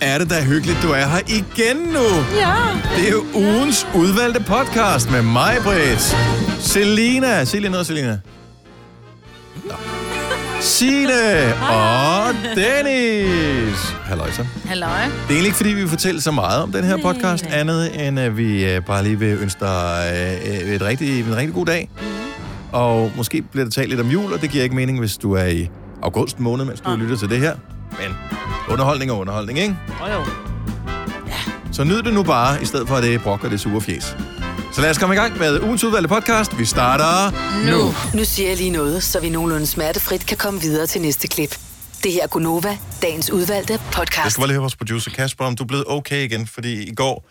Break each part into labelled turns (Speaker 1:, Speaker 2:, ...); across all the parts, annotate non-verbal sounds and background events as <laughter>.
Speaker 1: er det da hyggeligt, du er her igen nu.
Speaker 2: Ja.
Speaker 1: Det er jo ugens udvalgte podcast med mig, Britt. Selina. Sig lige noget, Selina. Nå. Signe og Dennis. Halløj så.
Speaker 2: Halløj.
Speaker 1: Det er egentlig ikke, fordi vi vil fortælle så meget om den her podcast, andet end at vi øh, bare lige vil ønske dig øh, øh, et rigtig, en rigtig god dag. Og måske bliver der talt lidt om jul, og det giver ikke mening, hvis du er i august måned, mens du lytter til det her. Men underholdning er underholdning, ikke?
Speaker 2: Oh, jo.
Speaker 1: Så nyd det nu bare, i stedet for at det brokker det sure fjes. Så lad os komme i gang med ugens udvalgte podcast. Vi starter nu. nu.
Speaker 3: Uh. Nu siger jeg lige noget, så vi nogenlunde smertefrit kan komme videre til næste klip. Det her er Gunova, dagens udvalgte
Speaker 1: Jeg
Speaker 3: podcast.
Speaker 1: skal bare lige høre vores producer Kasper, om du er blevet okay igen, fordi i går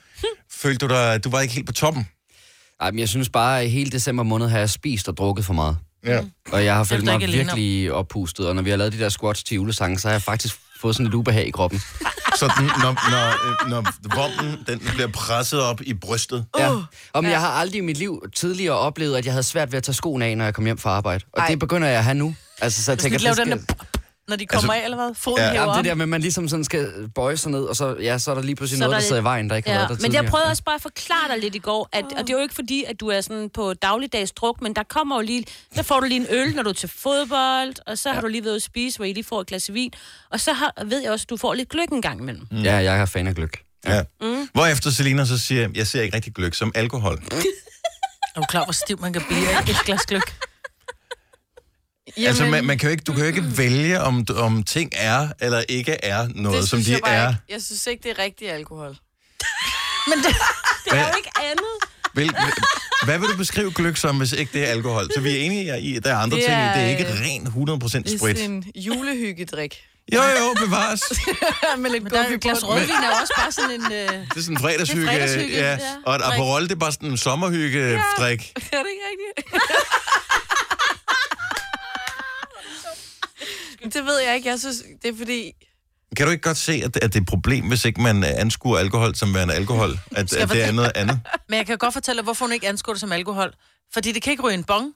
Speaker 1: følte du dig, at du var ikke helt på toppen.
Speaker 4: Ej, men jeg synes bare, at hele december måned har jeg spist og drukket for meget.
Speaker 1: Ja.
Speaker 4: Og jeg har
Speaker 2: er
Speaker 4: følt
Speaker 2: du
Speaker 4: mig
Speaker 2: ikke alene om.
Speaker 4: virkelig oppustet, og når vi har lavet de der squats til julesangen, så har jeg faktisk fået sådan lidt ubehag i kroppen.
Speaker 1: Så den, når, når, øh, når vommen den bliver presset op i brystet.
Speaker 4: Ja. Og men jeg har aldrig i mit liv tidligere oplevet, at jeg havde svært ved at tage skoene af, når jeg kom hjem fra arbejde. Og Ej. det begynder jeg at have nu. Altså, så jeg
Speaker 2: Du skal
Speaker 4: tænker,
Speaker 2: ikke lave den
Speaker 4: skal-
Speaker 2: der... Når de
Speaker 1: Altså-
Speaker 2: kommer altså, af, eller hvad? Foden
Speaker 1: Ja.
Speaker 2: ja,
Speaker 4: Jamen,
Speaker 2: hæver
Speaker 4: det
Speaker 2: op.
Speaker 4: der med, at man ligesom sådan skal bøje sig ned, og så, ja, så er der lige pludselig
Speaker 5: Så
Speaker 4: noget,
Speaker 5: der
Speaker 4: der,
Speaker 5: er
Speaker 4: sidder i
Speaker 5: lidt-
Speaker 4: vejen, der ikke har
Speaker 5: Ja,
Speaker 4: været der
Speaker 5: men jeg
Speaker 4: tidligere.
Speaker 5: prøvede også bare at forklare dig lidt i går, at, og det er jo ikke fordi, at du er sådan på dagligdags druk, men der kommer jo lige, der får du lige en øl, når du er til fodbold, og så har du lige været ude at spise, hvor I lige får et glas vin, og så har, ved jeg også, at du får lidt gløk en gang imellem. Mm.
Speaker 4: Ja, jeg er fan af gløk.
Speaker 1: Ja. Mm. Hvorefter Selina så siger, jeg ser ikke rigtig gløk som alkohol.
Speaker 2: Er du klar, hvor stiv man kan blive af et glas gløk?
Speaker 1: Jamen. Altså, man, man kan jo ikke, du kan jo ikke vælge, om, om ting er eller ikke er noget, som de
Speaker 6: jeg bare
Speaker 1: er.
Speaker 6: Ikke. Jeg synes ikke, det er rigtig alkohol.
Speaker 5: Det er
Speaker 1: Hvad-
Speaker 5: jo ikke
Speaker 6: <laughs>
Speaker 5: andet.
Speaker 1: Hvil, hvad vil du beskrive gløk som, hvis ikke det er alkohol? Så vi er enige i, at der er andre
Speaker 6: Det
Speaker 1: ting i.
Speaker 6: er,
Speaker 1: Det er ikke
Speaker 6: øh,
Speaker 1: ren 100%
Speaker 6: Det er
Speaker 1: sprit.
Speaker 6: sådan en julehyggedrik.
Speaker 1: Jo, jo, bevares.
Speaker 6: med lidt
Speaker 2: Men der er jo et glas rødvin er jo også bare sådan
Speaker 6: <laughs>
Speaker 2: en... Øh...
Speaker 1: Det er sådan en fredagshygge.
Speaker 6: Det er fredagshygge,
Speaker 1: ja.
Speaker 6: ja.
Speaker 1: Og et Aperol, det er bare sådan en sommerhygge-drik.
Speaker 6: Er det ikke
Speaker 5: <laughs>
Speaker 6: rigtigt? Men det ved jeg ikke. Jeg synes, det er fordi...
Speaker 1: Kan du ikke godt se, at, at det er et problem, hvis ikke man øh, anskuer alkohol som værende alkohol? At, at det er noget andet?
Speaker 2: Men jeg kan godt fortælle dig, hvorfor hun ikke anskuer det som alkohol. Fordi det kan ikke ryge en bong.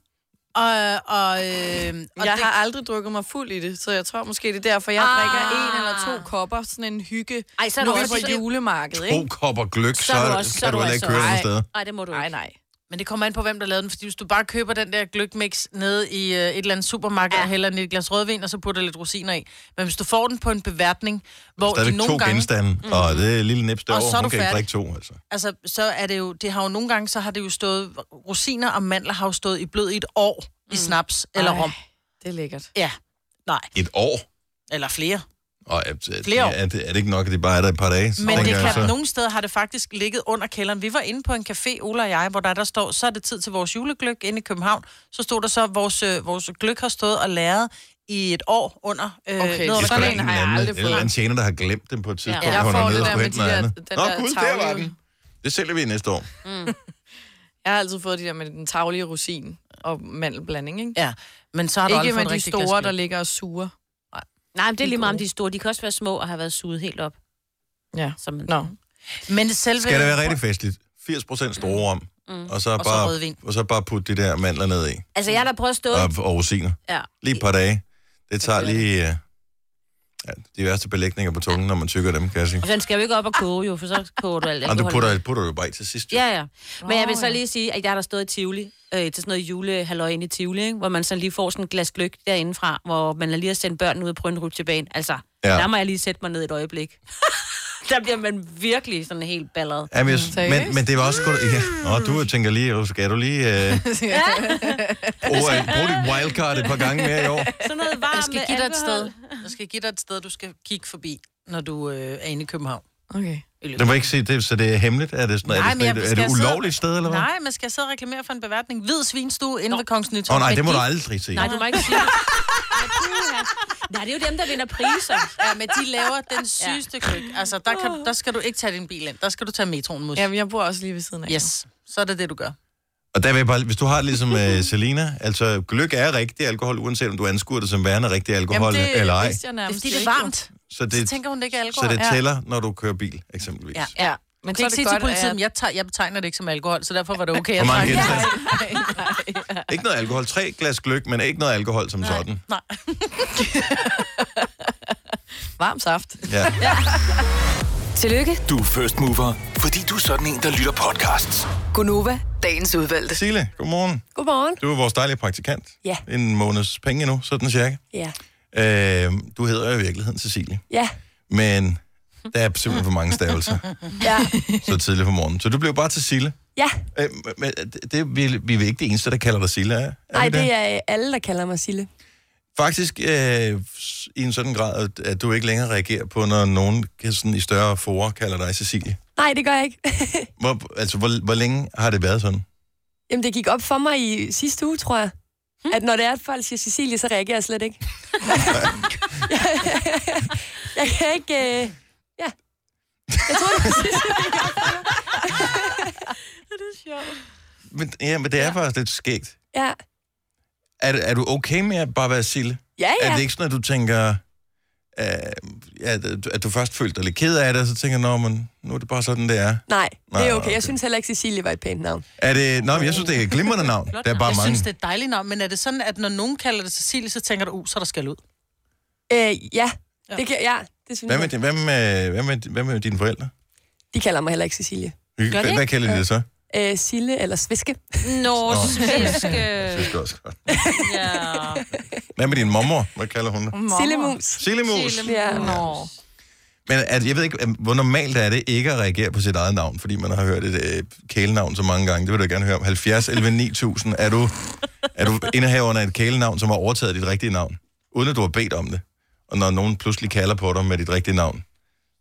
Speaker 2: Og, og, øh, og
Speaker 6: Jeg
Speaker 2: det,
Speaker 6: har aldrig drukket mig fuld i det, så jeg tror måske, det er derfor, jeg
Speaker 5: Ah.
Speaker 6: drikker en eller to kopper. Sådan en hygge.
Speaker 5: Ej, så er
Speaker 6: nu
Speaker 5: du
Speaker 6: er vi
Speaker 5: også
Speaker 6: på
Speaker 5: lidt-
Speaker 6: julemarkedet,
Speaker 1: To
Speaker 6: ikke?
Speaker 1: kopper gløk, så,
Speaker 5: Så er du
Speaker 1: så,
Speaker 5: også-
Speaker 1: så
Speaker 5: så er
Speaker 1: kan du
Speaker 5: du
Speaker 1: heller ikke
Speaker 5: altså-
Speaker 1: køre nogen
Speaker 6: Ej.
Speaker 1: steder.
Speaker 5: Nej, det må du
Speaker 6: Nej,
Speaker 5: ikke.
Speaker 6: nej.
Speaker 2: men det kommer an på, hvem der lavede den. Fordi hvis du bare køber den der gløkmix nede i øh, et eller andet supermarked, ja. og hælder den i et glas rødvin, og så putter lidt rosiner i. Men hvis du får den på en beværtning, hvor de
Speaker 1: Stadigvæk to
Speaker 2: nogle gange...
Speaker 1: genstande, og det er et lille nips
Speaker 2: Og så
Speaker 1: derovre.
Speaker 2: er
Speaker 1: Hun
Speaker 2: du
Speaker 1: kan ikke
Speaker 2: færdig.
Speaker 1: drikke to, altså.
Speaker 2: Altså, så er det jo... Det har jo nogle gange, så har det jo stået... Rosiner og mandler har jo stået i blød i et år mm. i snaps eller
Speaker 6: Ej,
Speaker 2: rom.
Speaker 6: Det er lækkert.
Speaker 2: Ja. Nej.
Speaker 1: Et år?
Speaker 2: Eller flere.
Speaker 1: Og er,
Speaker 2: Flere år.
Speaker 1: er, det, er det ikke nok, at det bare er der et par dage? Så
Speaker 2: Men det
Speaker 1: tænker jeg
Speaker 2: kan, altså- nogle steder har det faktisk ligget under kælderen. Vi var inde på en café, Ola og jeg, hvor der, der står, så er det tid til vores julegløk inde i København. Så stod der så, at vores, øh, vores gløk har stået og læret i et år under. Øh,
Speaker 6: Okay,
Speaker 2: ned
Speaker 1: Det
Speaker 2: under
Speaker 1: er sgu da
Speaker 6: sådan
Speaker 2: sådan
Speaker 1: en
Speaker 6: en
Speaker 1: eller
Speaker 6: har jeg
Speaker 1: anden,
Speaker 6: aldrig
Speaker 1: en eller
Speaker 6: fået.
Speaker 1: anden tjener, der har glemt den på et tidspunkt.
Speaker 6: Ja.
Speaker 1: Ja,
Speaker 6: Jeg får
Speaker 1: jeg
Speaker 6: det
Speaker 1: nede
Speaker 6: der
Speaker 1: og
Speaker 6: med
Speaker 1: hente
Speaker 6: de
Speaker 1: noget
Speaker 6: der-
Speaker 1: andet.
Speaker 6: den
Speaker 1: Nå,
Speaker 6: der
Speaker 1: gud, der var
Speaker 6: tavle.
Speaker 1: den. Det sælger vi næste år.
Speaker 6: Jeg har altid fået de der med den tavlige rosin og mandelblanding, ikke?
Speaker 2: Ja, men så har du
Speaker 6: Ikke
Speaker 2: aldrig
Speaker 6: med
Speaker 2: fået et
Speaker 6: de
Speaker 2: rigtigt glas
Speaker 6: store,
Speaker 2: gløgg.
Speaker 6: der ligger og suger.
Speaker 5: Nej, men det er lige meget om de er store. De kan også være små og have været suget helt op.
Speaker 6: Ja.
Speaker 5: Som en...
Speaker 6: Nå.
Speaker 2: Men selve...
Speaker 1: Skal det være rigtig festligt? 80% store rom.
Speaker 6: Mm.
Speaker 1: Og så,
Speaker 2: så
Speaker 1: bare,
Speaker 2: rødvin.
Speaker 1: og så bare putte de der mandler ned i.
Speaker 5: Altså, jeg har da prøvet at stå...
Speaker 1: Og, og rosiner.
Speaker 5: Ja.
Speaker 1: Lige et par dage. Det tager lige... øh, Ja, de værste belægninger på tungen, når man tykker dem, kan jeg sige.
Speaker 5: Og den skal jo ikke op og koge, jo, for så koger du alt
Speaker 1: Og du
Speaker 5: alkohol.
Speaker 1: putter, putter du bare i til sidst. jo.
Speaker 5: Ja, ja. Men jeg vil
Speaker 6: Nå,
Speaker 5: så
Speaker 6: ja.
Speaker 5: lige sige, at jeg har da stået i Tivoli, øh, til sådan noget julehalløj inde i Tivoli, ikke? hvor man så lige får sådan et glas gløk derindefra, hvor man lige har sendt børnene ud på en rutsjebane. Altså,
Speaker 1: Ja.
Speaker 5: ja. der må jeg lige sætte mig ned et øjeblik. <laughs> der bliver man virkelig sådan helt balleret.
Speaker 1: Jamen, jeg, synes- men,
Speaker 6: Mm, Seriøst?
Speaker 1: men det var også godt... Ja. Nå, du tænker lige, "Åh, skal du
Speaker 6: <laughs>
Speaker 1: lige... Øh, bruge, øh, bruge dit wildcard et par gange mere i år?
Speaker 5: Sådan noget varmt
Speaker 2: Jeg skal give dig et
Speaker 5: alkohol.
Speaker 2: sted. Jeg skal give dig et sted, du skal kigge forbi, når du øh, er inde i København.
Speaker 6: Okay.
Speaker 1: Det må ikke sige, det, så det er hemmeligt? Er det, sådan, er det,
Speaker 2: men jeg-
Speaker 1: sådan, er
Speaker 2: skal
Speaker 1: det, er
Speaker 2: jeg
Speaker 1: det
Speaker 2: sidde-
Speaker 1: ulovligt sted, eller hvad?
Speaker 2: Nej, men skal jeg sidde og reklamere for en beværtning? Hvid svinstue inde ved Kongens
Speaker 1: Åh
Speaker 2: Nytorv.
Speaker 1: oh, nej,
Speaker 2: Men
Speaker 1: det må du
Speaker 2: de-
Speaker 1: aldrig sige.
Speaker 5: Nej, du må ikke sige det. Nej, puha. Nej, det er jo dem, der vinder priser.
Speaker 2: Ja, men de laver den sygeste <laughs> ja. køk. Altså, der, kan, der skal du ikke tage din bil ind. Der skal du tage metroen mod.
Speaker 6: Jamen, jeg bor også lige ved siden af.
Speaker 2: Yes, så er det det, du gør.
Speaker 1: Og der vil jeg bare, hvis du har det ligesom uh, Selina, altså gløk er rigtig alkohol, uanset om du anskuer det som værende rigtig alkohol Jamen, det, eller ej.
Speaker 6: vidste jeg
Speaker 2: Det er
Speaker 6: nærmest
Speaker 2: fordi, det er
Speaker 6: ikke, jo.
Speaker 2: varmt.
Speaker 1: Så
Speaker 2: Så
Speaker 1: det,
Speaker 2: tænker hun, det ikke er alkohol.
Speaker 1: så det
Speaker 2: ja.
Speaker 1: tæller, når du kører bil, eksempelvis. Ja.
Speaker 2: Ja.
Speaker 6: Ja, men
Speaker 2: Jeg kan
Speaker 6: så er
Speaker 2: ikke
Speaker 6: det
Speaker 2: sige
Speaker 6: godt,
Speaker 2: til politiet,
Speaker 6: at-
Speaker 2: at... jeg, tager, jeg betegner det ikke som alkohol, så derfor var det okay.
Speaker 1: Hvor
Speaker 2: Jeg
Speaker 1: mange
Speaker 2: drak.
Speaker 1: genstande? Ikke noget alkohol. Tre glas gløk, men ikke noget alkohol som nej. sådan.
Speaker 2: Nej.
Speaker 6: Varm saft.
Speaker 1: Ja.
Speaker 3: Tillykke,
Speaker 7: Du er first mover, fordi du er sådan en, der lytter podcasts.
Speaker 3: Gunova, dagens udvalgte.
Speaker 1: Sile, godmorgen.
Speaker 8: Godmorgen.
Speaker 1: Du er vores dejlige praktikant.
Speaker 8: Ja.
Speaker 1: En måneds penge nu, sådan cirka.
Speaker 8: Ja.
Speaker 1: Øh, du hedder jo i virkeligheden Cecilie,
Speaker 8: Ja.
Speaker 1: men der er simpelthen for mange stavelser
Speaker 8: Ja.
Speaker 1: så tidligt på morgenen. Så du blev bare til Sille.
Speaker 8: ja.
Speaker 1: Øh, men det, det, vi, vi er ikke det eneste, der kalder dig Sille, er, er
Speaker 8: Nej,
Speaker 1: vi
Speaker 8: det er øh, alle, der kalder mig Sille.
Speaker 1: Faktisk øh, s- i en sådan grad, at- at du ikke længere reagerer på, når nogen kan sådan, i større forer kalder dig Cecilie.
Speaker 8: Nej, det gør jeg ikke.
Speaker 1: Hvor, altså, hvor, hvor længe har det været sådan?
Speaker 8: Jamen, det gik op for mig i sidste uge, tror jeg. At når det er, at folk siger Cecilie, så reagerer jeg slet ikke. <laughs> jeg kan ikke... Øh... Ja. Jeg tror, det var sidste
Speaker 1: Men, ja, men det er ja. faktisk lidt skægt.
Speaker 8: Ja.
Speaker 1: Er, er du okay med at bare være Sille?
Speaker 8: Ja,
Speaker 1: Er det
Speaker 8: ja.
Speaker 1: ikke sådan, at du tænker, øh, at, at du først følte dig lidt ked af det, og så tænker, nå, men nu er det bare sådan, det er?
Speaker 8: Nej, det
Speaker 1: Nej,
Speaker 8: er
Speaker 1: okay.
Speaker 8: okay. Jeg synes heller ikke, Cecilie var et pænt navn.
Speaker 1: er det, nå, men jeg synes, det er et glimrende navn. Der er bare
Speaker 2: Jeg
Speaker 1: mange.
Speaker 2: synes, det er et dejligt navn, men er det sådan, at når nogen kalder det Cecilie, så tænker du, uh, så er der skal ud?
Speaker 8: Øh, ja. Det kan, ja, det synes
Speaker 1: Hvad med,
Speaker 8: jeg.
Speaker 1: din- hvad, med, hvad, med, hvad med dine forældre?
Speaker 8: De kalder mig heller ikke Cecilie.
Speaker 1: Hvad,
Speaker 5: det
Speaker 1: hvad kalder de det så?
Speaker 8: Øh, Sille eller Sviske.
Speaker 5: Nå, svenske.
Speaker 1: Det synes jeg også godt.
Speaker 5: Ja.
Speaker 1: Hvad med din mormor? Hvad kalder hun dig?
Speaker 8: Sillemus.
Speaker 1: Sillemus.
Speaker 8: Ja.
Speaker 6: Nå.
Speaker 1: Men at, jeg ved ikke, at, hvor normalt er det ikke at reagere på sit eget navn, fordi man har hørt et øh, kælenavn så mange gange. Det vil du gerne høre om. 70, 11, 9000. Er du, er du indehaveren af et kælenavn, som har overtaget dit rigtige navn, uden at du har bedt om det? Og når nogen pludselig kalder på dig med dit rigtige navn,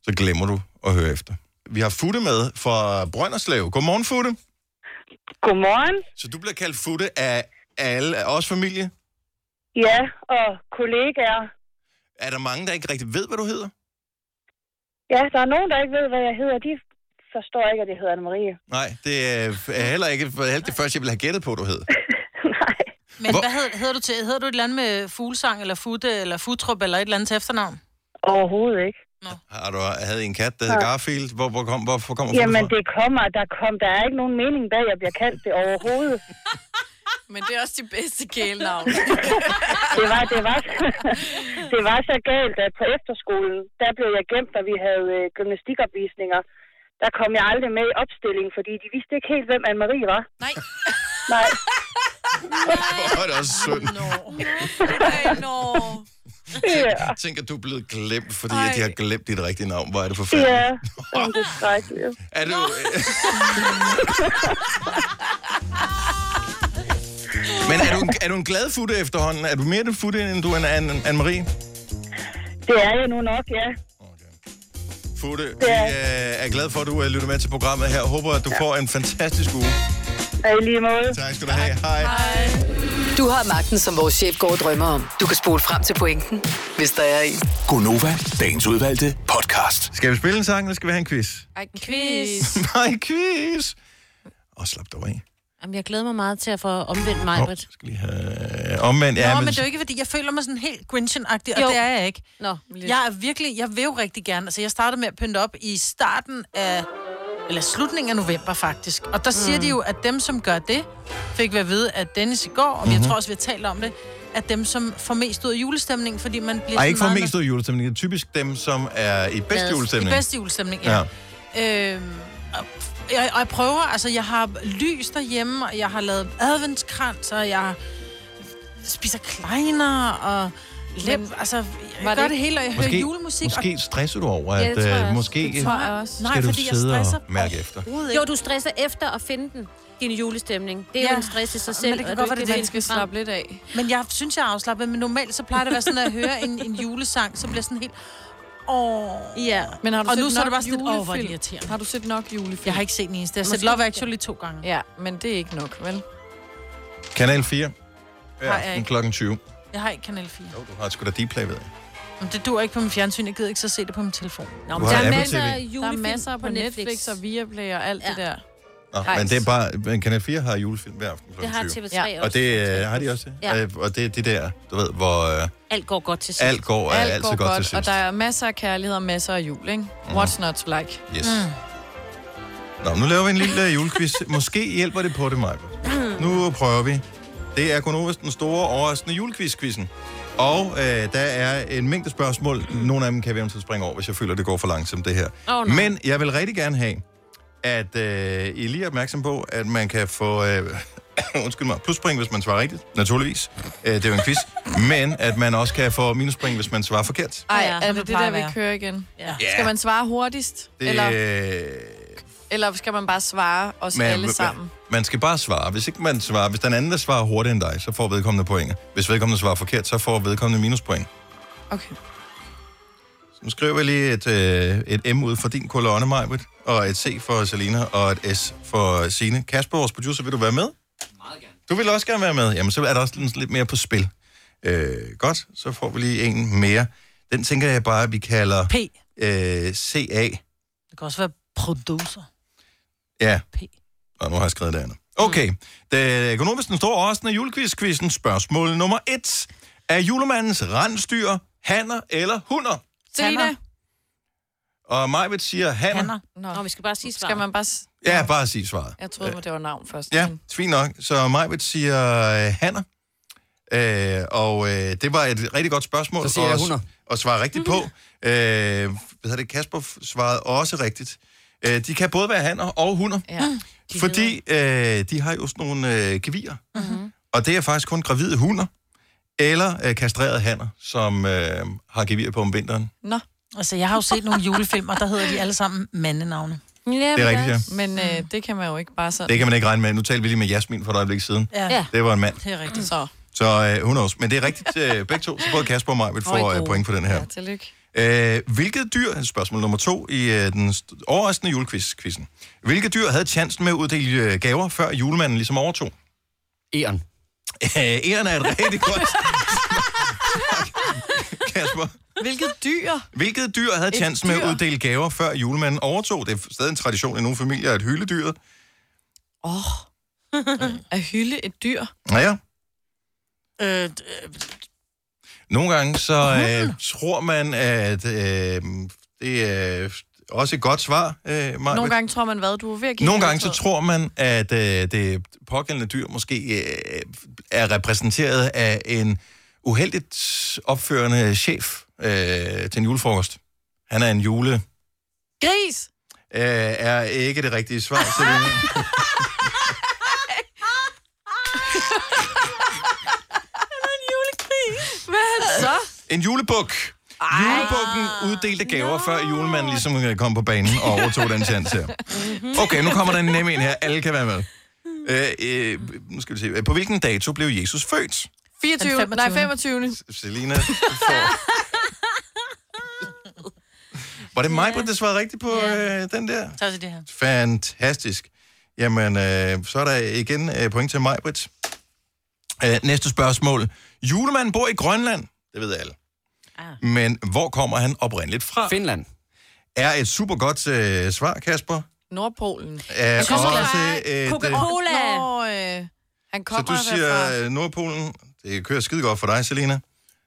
Speaker 1: så glemmer du at høre efter. Vi har Futte med fra Brønderslev. Godmorgen, Futte.
Speaker 9: Godmorgen.
Speaker 1: Så du bliver kaldt Futte af alle, af os familie.
Speaker 9: Ja, og kollegaer.
Speaker 1: Er der mange, der ikke rigtig ved, hvad du hedder?
Speaker 9: Ja, der er nogen, der ikke ved, hvad jeg hedder. De forstår ikke, at jeg hedder Anne-Marie.
Speaker 1: Nej, det er er heller ikke heller det første, jeg ville have gættet på, du hed.
Speaker 9: Nej.
Speaker 2: Men
Speaker 1: Hvor-
Speaker 2: Hvor... hvad hedder, hedder du til? Hedder du et eller andet med fuglesang, eller futte, eller futrup, eller et eller andet til efternavn?
Speaker 9: Overhovedet ikke.
Speaker 1: Har du havde I en kat, der hed Garfield? Hvor, hvor kom, hvorfor kommer
Speaker 9: Jamen,
Speaker 1: fra?
Speaker 9: det kommer. Der, kom, der er ikke nogen mening bag, at jeg bliver kaldt det overhovedet.
Speaker 6: <laughs> Men det er også de bedste kælenavn.
Speaker 9: <laughs> Det var, det var, <laughs> det var så galt, at på efterskolen, der blev jeg gemt, da vi havde øh, gymnastikopvisninger. Der kom jeg aldrig med i opstillingen, fordi de vidste ikke helt, hvem Anne-Marie var.
Speaker 6: Nej.
Speaker 9: Nej.
Speaker 1: <laughs> Hvor er det også synd.
Speaker 6: Ej, nå.
Speaker 9: Ja,
Speaker 1: Tænk, at du er blevet glemt, fordi at de har glemt dit rigtige navn. Hvor er det forfærdeligt. <laughs>
Speaker 9: ja. Som det er skrækkeligt.
Speaker 1: Er du... <laughs> Men er du, en, er du en glad futte efterhånden? Er du mere den futte, end du er en Anne- Anne-Marie?
Speaker 9: Det
Speaker 10: é,
Speaker 9: er jeg nu nok, ja.
Speaker 1: Futte, vi
Speaker 9: Ja.
Speaker 1: øh, er glad for, at du øh, lytter med til programmet her. Håber, at du får en fantastisk uge.
Speaker 9: Og i lige måde.
Speaker 1: Tak skal du have. Hej.
Speaker 3: Du har magten, som vores chef går og drømmer om. Du kan spole frem til pointen, hvis der er en.
Speaker 7: Gonova, dagens udvalgte podcast.
Speaker 1: Skal vi spille en sang, eller skal vi have en quiz?
Speaker 6: Ej, quiz.
Speaker 1: Nej, quiz! Og slap dig af.
Speaker 5: Jamen, jeg glæder mig meget til at få omvendt mig,
Speaker 1: Nå,
Speaker 5: Britt.
Speaker 1: skal lige have... Omvendt, ja,
Speaker 2: Nå,
Speaker 1: men...
Speaker 2: men, det er jo ikke, fordi jeg føler mig sådan helt Grinchen-agtig, og
Speaker 5: Jo.
Speaker 2: det er jeg ikke.
Speaker 5: Nå.
Speaker 2: Jeg er virkelig, jeg vil jo rigtig gerne, altså jeg startede med at pynte op i starten af, eller slutningen af november faktisk. Og der siger
Speaker 1: Mm.
Speaker 2: de jo, at dem som gør det, fik vi at vide af Dennis i går, og
Speaker 1: Mhm.
Speaker 2: mm-hmm. jeg tror også, vi har talt om det, at dem som får mest ud af julestemningen, fordi man bliver
Speaker 1: Ej,
Speaker 2: sådan
Speaker 1: ikke for
Speaker 2: meget
Speaker 1: mest ud af julestemningen. Det er typisk dem, som er i bedst julestemning.
Speaker 2: I bedste julestemning,
Speaker 1: Ja.
Speaker 2: ja. ja. Øhm, og, jeg, og jeg prøver, altså jeg har lys derhjemme, og jeg har lavet adventskrans, og jeg spiser kleiner, og lem, altså jeg gør det, det hele, og jeg måske, hører julemusik. og,
Speaker 1: Måske stresser du over,
Speaker 5: Ja,
Speaker 1: at
Speaker 5: det tror jeg
Speaker 1: ja,
Speaker 5: også.
Speaker 1: måske
Speaker 6: Det tror jeg også.
Speaker 2: nej,
Speaker 1: skal du
Speaker 2: fordi jeg
Speaker 1: sidde
Speaker 2: stresser
Speaker 1: og mærke efter.
Speaker 5: Jo, du stresser efter at finde den, din julestemning. Det er ja. jo
Speaker 2: Ja.
Speaker 5: en stress i sig
Speaker 2: Men
Speaker 5: selv,
Speaker 2: det kan
Speaker 5: at
Speaker 2: godt
Speaker 5: du
Speaker 2: være,
Speaker 5: ikke
Speaker 2: det
Speaker 5: kan
Speaker 2: er
Speaker 6: Den
Speaker 5: finde
Speaker 6: skal
Speaker 5: den frem.
Speaker 6: slappe lidt af.
Speaker 2: Men jeg synes, jeg er afslappet, men normalt så plejer det at være <laughs> sådan, at jeg hører en, en julesang, så bliver jeg sådan helt... Åh.
Speaker 5: Ja.
Speaker 6: Men har du
Speaker 2: Og
Speaker 6: set
Speaker 2: nu så
Speaker 6: nok
Speaker 2: er det bare sådan lidt, åh, hvor er det
Speaker 6: julefilm?
Speaker 2: irriterende.
Speaker 6: Har du set nok julefilm?
Speaker 2: Jeg har ikke set den eneste. Jeg har set Love Actually to gange.
Speaker 6: Ja, men det er ikke nok, vel?
Speaker 1: Kanal 4. Ja,
Speaker 2: Har jeg
Speaker 1: aften
Speaker 2: ikke.
Speaker 1: klokken 20.
Speaker 2: Jeg har ikke Kanal 4.
Speaker 1: Jo, du har sgu da Dplay, ved jeg.
Speaker 2: Men det dur ikke på min fjernsyn. Jeg gider ikke så se det på min telefon.
Speaker 5: Nå,
Speaker 1: Du
Speaker 5: men
Speaker 1: har
Speaker 5: der er
Speaker 1: Apple
Speaker 5: masser
Speaker 1: TV.
Speaker 5: af
Speaker 6: Der er
Speaker 5: julefilm
Speaker 6: masser på Netflix og Viaplay og alt det
Speaker 5: Ja.
Speaker 6: der.
Speaker 1: Nå,
Speaker 6: Hej.
Speaker 1: men det er bare... Men Kanal 4 har julefilm hver aften
Speaker 5: Det
Speaker 1: klokken
Speaker 5: har
Speaker 1: 20.
Speaker 5: TV3
Speaker 6: Ja.
Speaker 5: ja.
Speaker 1: Og
Speaker 5: også.
Speaker 1: det øh, har de også.
Speaker 5: Ja.
Speaker 1: Ja. Og det er det der, du ved, hvor øh,
Speaker 5: Alt går godt til sidst.
Speaker 1: alt går er
Speaker 6: Alt
Speaker 1: altid
Speaker 6: går
Speaker 1: godt, til Mm.
Speaker 6: godt, og
Speaker 1: sidst.
Speaker 6: der er masser af kærlighed og masser af jul, ikke? What's not to like?
Speaker 1: Yes.
Speaker 5: Mm.
Speaker 1: Nå, nu laver vi en lille øh,
Speaker 5: <laughs>
Speaker 1: julequiz. Måske hjælper det på det, Maja. Nu prøver vi. Det er kun den store overraskende julequiz-quizzen. Og øh, der er en mængde spørgsmål. Nogle af dem kan vi eventuelt springe over, hvis jeg føler, det går for langsomt, det her.
Speaker 5: Åh, nej.
Speaker 1: Men jeg vil rigtig gerne have, at øh, I lige er opmærksom på, at man kan få... Øh, <coughs> undskyld mig, pluspring, hvis man svarer rigtigt, naturligvis. Øh, det er jo en quiz. Men at man også kan få minuspring, hvis man svarer forkert.
Speaker 6: Ej,
Speaker 2: Ja,
Speaker 6: ja, er
Speaker 2: som
Speaker 6: det det
Speaker 2: det plejer
Speaker 6: der, vi
Speaker 2: at være.
Speaker 6: kører igen?
Speaker 2: Ja.
Speaker 6: Skal man svare hurtigst?
Speaker 1: Det,
Speaker 6: Eller,
Speaker 1: øh,
Speaker 6: eller skal man bare svare os
Speaker 1: Man-
Speaker 6: alle
Speaker 1: man-
Speaker 6: sammen?
Speaker 1: Man skal bare svare. Hvis ikke man svarer, hvis den anden der svarer hurtigere end dig, så får vedkommende point. Hvis vedkommende svarer forkert, så får vedkommende minuspoint.
Speaker 6: Okay.
Speaker 1: Så nu skriver jeg lige et, øh, et M ud for din kolonne, Majbrit, og et C for Selina, og et S for Sine. Kasper, vores producer, vil du være med? Meget gerne. Du vil også gerne være med. Jamen, så er der også sådan lidt mere på spil. Øh, godt, så får vi lige en mere. Den tænker jeg bare, at vi kalder
Speaker 2: P.
Speaker 1: øh, CA.
Speaker 2: Det kan også være producer.
Speaker 1: Ja.
Speaker 2: P. Mm.
Speaker 1: Og nu har jeg skrevet det andet. Okay. Det økonomisk den store årsende julequiz-quizzen. Spørgsmål nummer et. Er julemandens rensdyr hanner eller hunder?
Speaker 6: Tina?
Speaker 1: Og Majbet siger hanner.
Speaker 2: Hanner.
Speaker 6: Nå,
Speaker 5: Nå, vi skal bare sige svaret.
Speaker 6: skal man bare... s-
Speaker 1: Ja, bare sig svaret.
Speaker 6: Jeg troede, det var navn først.
Speaker 1: Øh. Ja,
Speaker 6: men-
Speaker 1: fint nok. Så Majbet siger øh, hanner. Øh, og øh, det var et rigtig godt spørgsmål.
Speaker 4: Så siger jeg
Speaker 1: og-
Speaker 4: hunder.
Speaker 1: Og svare rigtigt på.
Speaker 2: Mm-hmm.
Speaker 1: Øh, hvad hedder det? Kasper f- svarede også rigtigt. Øh, de kan både være hanner og hunder.
Speaker 6: Ja.
Speaker 2: Mm.
Speaker 1: De fordi øh, de har jo sådan nogle øh, gevier. Mm-hmm. Og det er faktisk kun gravide hunder, eller øh, kastrerede hanner, som øh, har gevier på om vinteren.
Speaker 6: Nå,
Speaker 2: Altså, jeg har jo set nogle julefilmer, der hedder de alle sammen mandenavne.
Speaker 1: Det er rigtigt, ja.
Speaker 6: men
Speaker 2: Mm.
Speaker 6: øh, det kan man jo ikke bare sådan.
Speaker 1: Det kan man ikke regne med. Nu talte vi lige med Jasmin for et øjeblik siden.
Speaker 2: Ja,
Speaker 5: Ja.
Speaker 2: ja.
Speaker 1: Det var en mand.
Speaker 2: det er rigtigt.
Speaker 6: Så,
Speaker 1: Så øh, hun også. Men det er rigtigt øh, begge to. Så både Kasper og mig vil få øh, point på den her.
Speaker 6: ja, tillykke.
Speaker 1: Øh, hvilket dyr, spørgsmål nummer to i øh, den st- overraskende julequiz-quizzen. Hvilket dyr havde chancen med at uddele øh, gaver, før julemanden ligesom overtog?
Speaker 4: Eren.
Speaker 1: Øh, Eren er et rigtig godt... Kasper.
Speaker 6: Hvilket dyr?
Speaker 1: Hvilket dyr havde chancen med
Speaker 6: dyr?
Speaker 1: at uddele gaver, før julemanden overtog? Det er stadig en tradition i nogle familier, at hylde dyret.
Speaker 6: Åh, oh. at hylde et dyr.
Speaker 1: Naja,
Speaker 2: Øh,
Speaker 1: nogle gange så øh, tror man, at øh, det er også et godt svar, øh, Maja.
Speaker 6: Nogle gange tror man, hvad du er ved at give.
Speaker 1: Nogle gange så tror man, at øh, det pågældende dyr måske øh, er repræsenteret af en uheldigt opførende chef øh, til en julefrokost. Han er en jule... Øh,
Speaker 6: Gris!
Speaker 1: er ikke det rigtige svar, Selina.
Speaker 6: Så?
Speaker 1: En julebuk. Julebukken uddelte gaver, no. før julemanden ligesom øh, kom på banen og overtog den chance her. Okay, nu kommer der en nem en her. Alle kan være med. Øh, øh, nu skal vi se. På hvilken dato blev Jesus født?
Speaker 6: 24.
Speaker 2: Den 25..
Speaker 6: Nej, 25.
Speaker 1: Selina
Speaker 2: <laughs>
Speaker 1: får... Var det mig, der svarede rigtigt på øh, den der?
Speaker 2: så til det her.
Speaker 1: Fantastisk. Jamen, øh, så er der igen øh, point til mig, Britt. Øh, næste spørgsmål. Julemanden bor i Grønland. Det ved alle. Ah. Men hvor kommer han oprindeligt fra?
Speaker 4: Finland.
Speaker 1: Er et super godt øh, svar, Kasper.
Speaker 6: Nordpolen.
Speaker 1: Er
Speaker 5: kommer
Speaker 1: også et, øh,
Speaker 5: Coca-Cola.
Speaker 6: Nå, øh, han
Speaker 1: så
Speaker 6: kommer
Speaker 1: du siger øh, Nordpolen. Det kører skide godt for dig, Selina.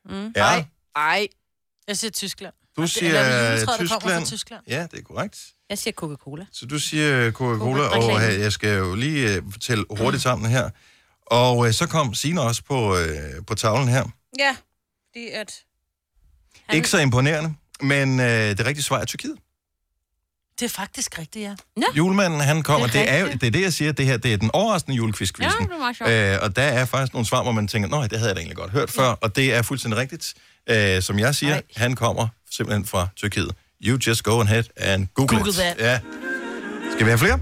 Speaker 1: Mm. Ja,
Speaker 6: Ej. Ej,
Speaker 2: Jeg siger Tyskland.
Speaker 1: du
Speaker 2: Eller
Speaker 1: siger øh,
Speaker 2: juletræet, der kommer fra
Speaker 1: Tyskland.
Speaker 2: Tyskland.
Speaker 1: Ja, det er korrekt.
Speaker 5: Jeg siger Coca-Cola.
Speaker 1: Så du siger øh, Coca-Cola,
Speaker 5: Coca-Cola.
Speaker 1: og øh, jeg skal jo lige øh, fortælle hurtigt sammen her. Og øh, så kom Signe også på, øh, på tavlen her.
Speaker 5: Ja, fordi at...
Speaker 1: Han... Ikke så imponerende, men øh, det rigtige svar er Tyrkiet.
Speaker 2: Det er faktisk rigtigt, ja.
Speaker 1: Julemanden, han kommer. Det er, jo, det er det, jeg siger. Det her det er den overraskende julequiz ja,
Speaker 5: meget
Speaker 1: øh, Og der er faktisk nogle svar, hvor man tænker, nej, det havde jeg da egentlig godt hørt før. Og det er fuldstændig rigtigt. Øh, som jeg siger, Ej. han kommer simpelthen fra Tyrkiet. You just go ahead and google,
Speaker 2: Google
Speaker 1: it.
Speaker 2: that.
Speaker 1: Ja. Skal vi have flere?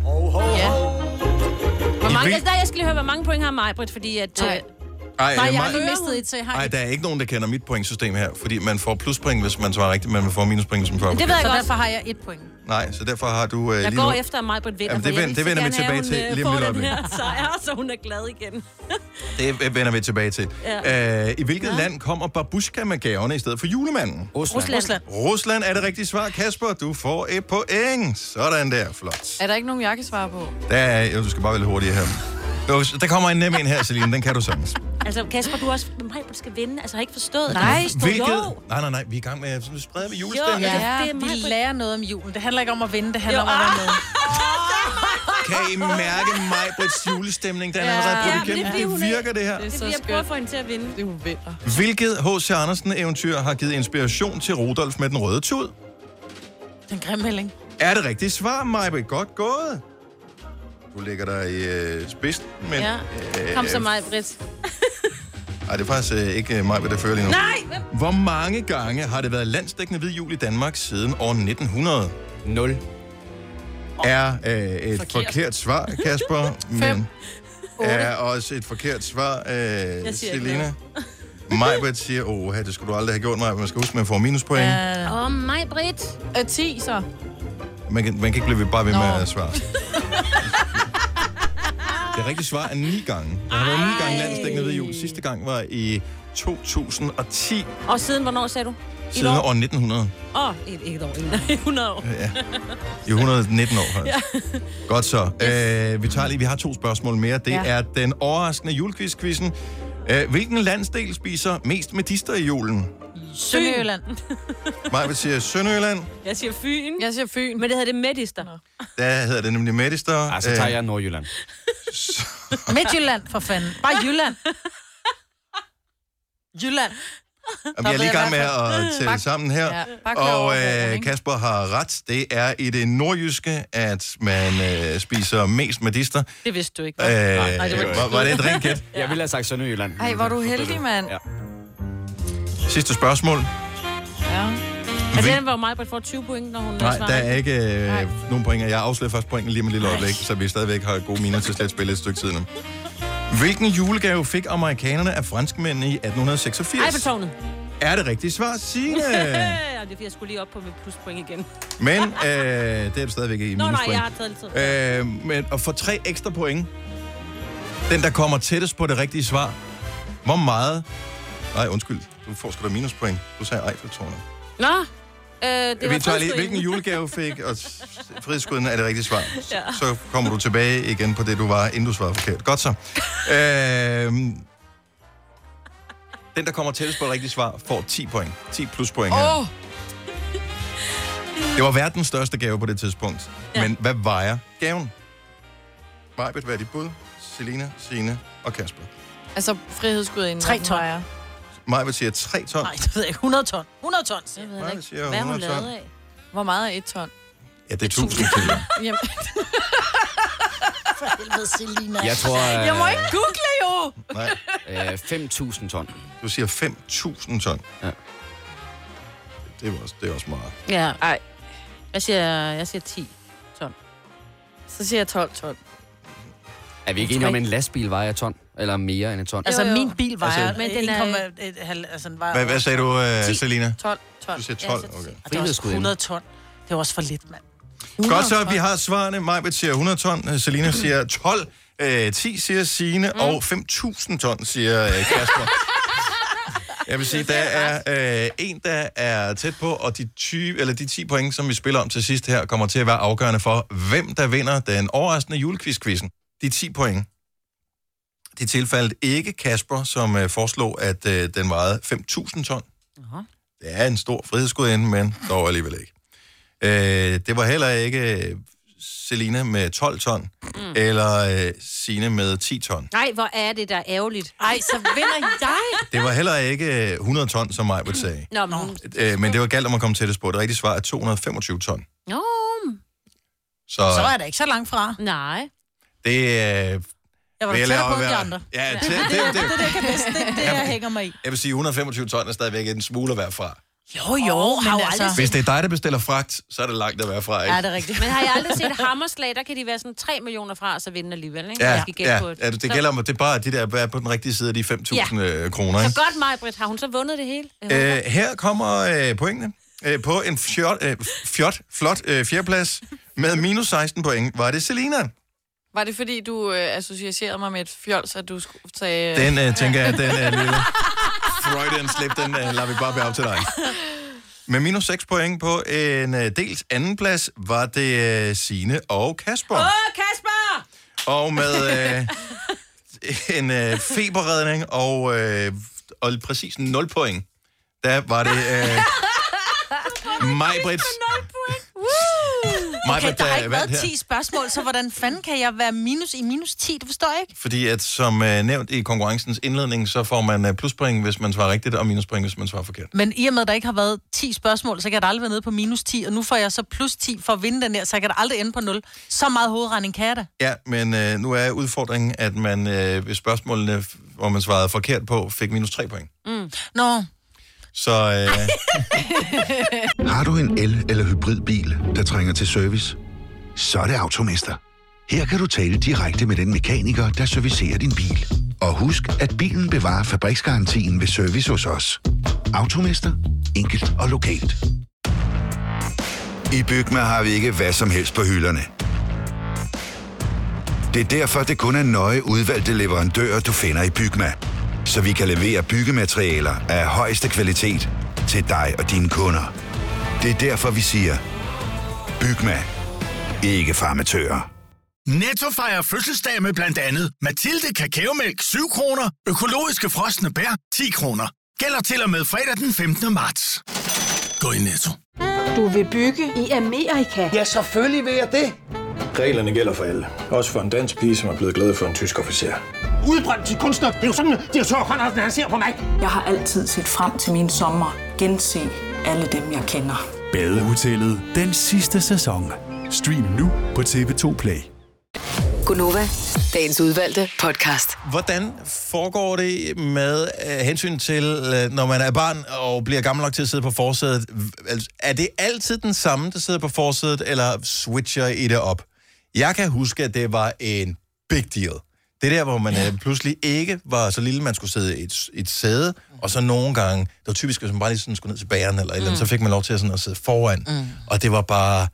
Speaker 6: ja.
Speaker 5: Hvor mange,
Speaker 1: vil-
Speaker 5: altså, der, jeg skal lige høre, hvor mange point har Majbrit, fordi at... Øh,
Speaker 1: Ej,
Speaker 2: Nej, jeg har
Speaker 1: mig-
Speaker 2: lige mistet et, så jeg har
Speaker 1: Nej, der er ikke nogen, der kender mit pointsystem her, fordi man får pluspoint, hvis man svarer rigtigt, men man får minuspoint, hvis man svarer
Speaker 5: det ved jeg
Speaker 2: Så
Speaker 5: godt.
Speaker 2: derfor har jeg et point.
Speaker 1: Nej, så derfor har du øh,
Speaker 5: Jeg
Speaker 1: lige
Speaker 5: går
Speaker 1: nu...
Speaker 5: efter, at Majbrit vinder,
Speaker 1: Jamen, det
Speaker 5: for jeg
Speaker 1: vend- det
Speaker 5: vil så
Speaker 1: vender vi
Speaker 5: gerne have,
Speaker 1: tilbage til
Speaker 5: hun, øh,
Speaker 1: lige om
Speaker 5: får
Speaker 1: lidt
Speaker 5: den
Speaker 1: øjeblik.
Speaker 5: her sejr, så hun er glad igen. <laughs>
Speaker 1: Det vender vi tilbage til. Ja. Øh, I hvilket ja. land kommer babushka med gaverne i stedet for julemanden?
Speaker 4: Rusland.
Speaker 5: Rusland.
Speaker 2: Rusland.
Speaker 1: Rusland er det rigtige svar, Kasper. Du får et point. Sådan der, flot.
Speaker 6: Er der ikke nogen, jeg kan svare på?
Speaker 1: Der er, jo, du skal bare vælge hurtigt her. Jo, Der kommer en nem en her, Celine. Den kan du sagtens.
Speaker 5: Altså, Kasper, du er også... Men Majbrit skal vinde. Altså, jeg har ikke forstået.
Speaker 6: Nej.
Speaker 5: Jeg har ikke forstået. Jo.
Speaker 1: Nej, nej, nej. Vi er i gang med at sprede med
Speaker 5: Jo,
Speaker 1: julestemning.
Speaker 5: ja.
Speaker 1: Ja.
Speaker 5: Det
Speaker 2: Ja,
Speaker 5: er
Speaker 2: vi
Speaker 5: mig, Britt.
Speaker 2: Ah. lærer noget om julen. Det handler ikke om at vinde, det handler om at være med.
Speaker 1: Kan I mærke mig på julestemning? Den er
Speaker 5: Ja.
Speaker 1: allerede
Speaker 5: Ja,
Speaker 1: brudt
Speaker 5: men det er
Speaker 1: igennem.
Speaker 5: fordi,
Speaker 1: Det
Speaker 5: hun er-
Speaker 1: virker, det her.
Speaker 6: Det er
Speaker 5: Det
Speaker 6: så
Speaker 5: bliver jeg prøver
Speaker 6: skønt.
Speaker 5: at få hende til at vinde.
Speaker 6: Det er hun vinder.
Speaker 1: Hvilket H.C. Andersen-eventyr har givet inspiration til Rudolf med den røde tud?
Speaker 2: Den grimme melding.
Speaker 1: Er det rigtigt svar, Majbrit? Godt gået. Du ligger der i øh, spidsen, men...
Speaker 5: Ja.
Speaker 1: øh,
Speaker 5: Kom så mig, Britt.
Speaker 1: Nej, det er faktisk øh, ikke øh, Majbrit, der fører lige nu.
Speaker 5: Nej! hvem-
Speaker 1: Hvor mange gange har det været landsdækkende hvid jul i Danmark siden år 1900?
Speaker 4: 0.
Speaker 1: Er øh, et forkert.
Speaker 2: Forkert.
Speaker 1: forkert svar, Kasper,
Speaker 5: <laughs>
Speaker 1: men er også et forkert svar, øh,
Speaker 5: Jeg siger ikke
Speaker 1: Selina. <laughs> Majbrit siger, åh, det skulle du aldrig have gjort, Majbrit. Man skal huske, man får minuspoint.
Speaker 2: Uh,
Speaker 5: Åh, mig, Britt.
Speaker 6: Øh, 10 så.
Speaker 1: Man kan, man kan ikke blive ved, bare ved med
Speaker 2: Nå.
Speaker 1: at
Speaker 5: <laughs>
Speaker 1: svare. Det rigtige svar er ni gange. Der har været ni gange landstækkende ved jul. Sidste gang var i 2010,
Speaker 5: Og siden hvornår sagde du? I
Speaker 1: siden år 1900.
Speaker 5: Åh, oh, ikke et år. i 100 år.
Speaker 1: Ja. I 119 år, faktisk. Godt så. Øh, vi tager lige, vi har to spørgsmål mere. Det
Speaker 5: Ja.
Speaker 1: er den overraskende julequiz-quizzen. Øh, hvilken landsdel spiser mest medister i julen?
Speaker 2: Sønderjylland.
Speaker 1: Maja siger Sønderjylland.
Speaker 5: Jeg siger Fyn.
Speaker 6: Jeg siger Fyn.
Speaker 5: Men det hedder det Medister.
Speaker 1: Der hedder det nemlig medister.
Speaker 11: Ej, Ah, så tager jeg Nordjylland.
Speaker 2: Midtjylland, for fanden. Bare <laughs> Jylland. Jylland.
Speaker 1: Jamen, jeg Øh, er lige i
Speaker 2: Der
Speaker 1: gang
Speaker 2: ved
Speaker 1: med
Speaker 2: jeg
Speaker 1: at tælle sammen her.
Speaker 6: Ja, bare klar
Speaker 1: Og
Speaker 6: over det,
Speaker 1: øh,
Speaker 6: ikke?
Speaker 1: Kasper har ret. Det er i det nordjyske, at man øh, spiser mest medister.
Speaker 2: Det vidste du ikke.
Speaker 1: Øh,
Speaker 2: nej, det var ikke
Speaker 1: var, var det et rent gæt?
Speaker 11: Jeg ville have sagt Sønderjylland.
Speaker 6: Ej, hvor er du heldig, mand.
Speaker 11: Ja.
Speaker 1: Sidste spørgsmål.
Speaker 6: Ja.
Speaker 5: Og
Speaker 1: Hvil-
Speaker 5: Altså, den var jo mig, Britt får 20 point, når hun
Speaker 1: Nej,
Speaker 5: svarer.
Speaker 1: der er ikke øh, nogen pointer. Jeg afslører først pointen lige om et lille øjeblik, så vi stadigvæk har gode miner til slet spille et stykke tid nu. Hvilken julegave fik amerikanerne af franskmændene i
Speaker 5: Ej, på
Speaker 1: 1886?
Speaker 5: tårnet.
Speaker 1: Er det rigtigt svar,
Speaker 5: <laughs>
Speaker 1: Signe?
Speaker 5: Øh, og det er fordi, jeg skulle lige op på mit pluspoint igen.
Speaker 1: Men øh, det er du stadigvæk i
Speaker 5: Nå nej,
Speaker 1: minuspoint.
Speaker 5: jeg har taget lidt tid.
Speaker 1: Øh, men at få tre ekstra point. Den, der kommer tættest på det rigtige svar. Hvor meget... Nej, undskyld. Du får sgu da minuspoint. Du sagde Eiffeltårnet.
Speaker 5: Nå, øh, det var
Speaker 1: Vi tager lige,
Speaker 5: pluspoint.
Speaker 1: hvilken julegave fik, og fridskuden er det rigtige svar. Ja. Så kommer du tilbage igen på det, du var, inden du svarede forkert. Godt så. Øhm, den, der kommer tættest på det rigtige svar, får 10 point. 10 plus point her.
Speaker 5: Oh.
Speaker 6: Åh,
Speaker 1: Det var verdens største gave på det tidspunkt. Ja. Men hvad vejer gaven? Majbet, hvad er dit bud? Selina, Signe og Kasper.
Speaker 6: altså frihedsgudinden.
Speaker 2: Tre ton.
Speaker 6: Jeg.
Speaker 1: Majbet siger 3 ton.
Speaker 2: Nej, det ved jeg ikke. 100 ton. 100 ton, siger
Speaker 5: Jeg
Speaker 2: jeg.
Speaker 5: ved
Speaker 1: Nej,
Speaker 5: heller
Speaker 1: siger
Speaker 5: ikke, hvad hun
Speaker 1: 100 ton.
Speaker 5: lavede af.
Speaker 6: Hvor meget er et ton?
Speaker 1: Ja, det er 1000 kilo.
Speaker 5: <laughs>
Speaker 6: Jamen,
Speaker 2: For helvede, Selina.
Speaker 4: Jeg tror,
Speaker 6: jeg må ikke google jo!
Speaker 1: Nej,
Speaker 4: øh, 5.000 ton.
Speaker 1: du siger 5.000 ton. Ja.
Speaker 4: Ja.
Speaker 1: Det er også, det er også meget.
Speaker 5: Ja.
Speaker 6: Ej.
Speaker 5: Jeg siger, jeg siger 10.
Speaker 6: <laughs> Så siger jeg 12 ton.
Speaker 4: Er vi ikke enige om, at en lastbil vejer et ton? Eller mere end et ton?
Speaker 2: Altså,
Speaker 6: Jo, jo.
Speaker 2: min bil vejer...
Speaker 1: Altså-
Speaker 2: Altså,
Speaker 5: Men
Speaker 2: men
Speaker 5: den er-
Speaker 2: Altså, den vejer...
Speaker 1: Hvad, hvad sagde du, øh, Selina?
Speaker 6: 12 ton.
Speaker 1: Du siger
Speaker 5: Ja,
Speaker 1: 12,
Speaker 5: så-
Speaker 1: okay.
Speaker 2: Og det er også
Speaker 4: Frihedsgudinde.
Speaker 2: 100 ton. Det er også for lidt, mand.
Speaker 1: Godt så, vi har svarene. Majbet siger 100 ton, øh, Selina siger 12, øh, 10 siger Signe, mm. og 5.000 ton siger øh, Kasper. Jeg vil sige, der er øh, en, der er tæt på, og de, 20, eller de 10 point, som vi spiller om til sidst her, kommer til at være afgørende for, hvem der vinder den overraskende julequiz-quizzen. De 10 point. De tilfaldt ikke Kasper, som øh, foreslog, at øh, den vejede 5.000 ton. Det er en stor frihedsgudinde, men dog alligevel ikke. Øh, det var heller ikke øh, Selina med 12 ton, mm. eller øh, Sine med 10 ton.
Speaker 5: Nej, hvor er det der ærgerligt.
Speaker 2: Ej, så vinder jeg.
Speaker 1: Det var heller ikke øh, 100 ton, som mig
Speaker 2: Mm.
Speaker 1: ville sige.
Speaker 5: Nå, men hun...
Speaker 1: Øh, men det var galt om at komme tættest på. Det rigtige svar er 225 ton.
Speaker 5: Nå, mm,
Speaker 1: Så,
Speaker 2: Så er det ikke så langt fra.
Speaker 5: nej.
Speaker 1: det øh,
Speaker 2: Jeg var
Speaker 1: vil jeg
Speaker 2: da tættere
Speaker 1: lade at
Speaker 2: på end de
Speaker 1: være-
Speaker 2: andre.
Speaker 1: Ja, det, det, det,
Speaker 2: <laughs> Det kan bedst, det er det, jeg hænger mig i.
Speaker 1: jeg vil sige, 125 ton er stadigvæk en smule at være fra.
Speaker 2: Jo, jo, oh,
Speaker 5: har
Speaker 2: men
Speaker 5: jo
Speaker 2: altså...
Speaker 5: aldrig
Speaker 1: Hvis det er dig, der bestiller fragt, så er det langt at være fra, ikke?
Speaker 2: Ja, det er rigtigt.
Speaker 5: Men har jeg aldrig set hammerslag, der kan de være sådan 3 millioner fra, og så vinde alligevel, ikke? Jeg
Speaker 1: Ja,
Speaker 5: skal gætte
Speaker 1: ja,
Speaker 5: på
Speaker 1: ja, det det gælder om, at det er bare de der er på den rigtige side af de 5.000 ja. kroner.
Speaker 5: Så,
Speaker 1: Ikke?
Speaker 5: så godt mig, Britt. Har hun så vundet det hele?
Speaker 1: Øh, her kommer øh, pointene. Øh, på en fjot, øh, fjot, flot øh, fjerdeplads med minus 16 point var det Selina.
Speaker 6: Var det fordi, du øh, associerede mig med et fjols, at du skulle tage... Øh,
Speaker 1: Den øh, tænker jeg, den er lille. Freudian slip, den øh, lader vi bare være op til dig. Med minus 6 point på en øh, dels anden plads var det øh, Sine og Kasper. Åh, oh, Kasper! Og med øh, en øh, feberredning og, øh, og præcis 0 point, der var det... Øh, Majbrits,
Speaker 2: Okay,
Speaker 1: Majbrit,
Speaker 2: der har
Speaker 1: øh,
Speaker 2: ikke
Speaker 1: vandt
Speaker 2: været
Speaker 1: her.
Speaker 2: 10 spørgsmål, så hvordan fanden kan jeg være minus i minus 10? Det forstår jeg ikke.
Speaker 1: Fordi at som øh, nævnt i konkurrencens indledning, så får man øh, pluspoint, hvis man svarer rigtigt, og minuspoint, hvis man svarer forkert.
Speaker 2: Men i og med, at der ikke har været 10 spørgsmål, så kan jeg da aldrig være nede på minus 10, og nu får jeg så plus 10 for at vinde den her, så jeg kan da aldrig ende på 0. Så meget hovedregning kan jeg da.
Speaker 1: Ja, men øh, nu er udfordringen, at man øh, ved spørgsmålene, hvor man svarede forkert på, fik minus 3 point.
Speaker 2: Mm. Nå.
Speaker 1: Så øh,
Speaker 7: Har du en el- eller hybridbil, der trænger til service? Så er det Automester. Her kan du tale direkte med den mekaniker, der servicerer din bil. Og husk, at bilen bevarer fabriksgarantien ved service hos os. Automester. Enkelt og lokalt.
Speaker 12: I Bygma har vi ikke hvad som helst på hylderne. Det er derfor, det kun er nøje udvalgte leverandører, du finder i Bygma. Så vi kan levere byggematerialer af højeste kvalitet til dig og dine kunder. Det er derfor, vi siger, Bygma. Ikke farmatører.
Speaker 13: Netto fejrer fødselsdag med blandt andet Mathilde Kakaomælk 7 kroner, økologiske frosne bær 10 kroner. Gælder til og med fredag den 15. marts. Gå i Netto.
Speaker 14: Du vil bygge i Amerika? Ja, selvfølgelig vil jeg det.
Speaker 15: Reglerne gælder for alle. <laughs> Også for en dansk pige, som er blevet glad for en tysk officer.
Speaker 14: Udbrøndt til kunstner. Det er jo sådan, at de har tørt, han ser på mig. Jeg har altid set frem til min sommer. Gense alle dem, jeg kender.
Speaker 16: Badehotellet den sidste sæson. Stream nu på TV2 Play.
Speaker 3: Gunova, dagens udvalgte podcast.
Speaker 1: hvordan foregår det med øh, hensyn til, øh, når man er barn og bliver gammel nok til at sidde på forsædet? V- altså, Er det altid den samme, der sidder på forsædet, eller switcher I det op? Jeg kan huske, at det var en big deal. Det der, hvor man øh, pludselig ikke var så lille, man skulle sidde i et, i et sæde, og så nogle gange, det var typisk, hvis man bare lige sådan skulle ned til bæren eller et eller andet, så
Speaker 5: Mm.
Speaker 1: fik man lov til at, sådan, at sidde foran. Mm. Og det var bare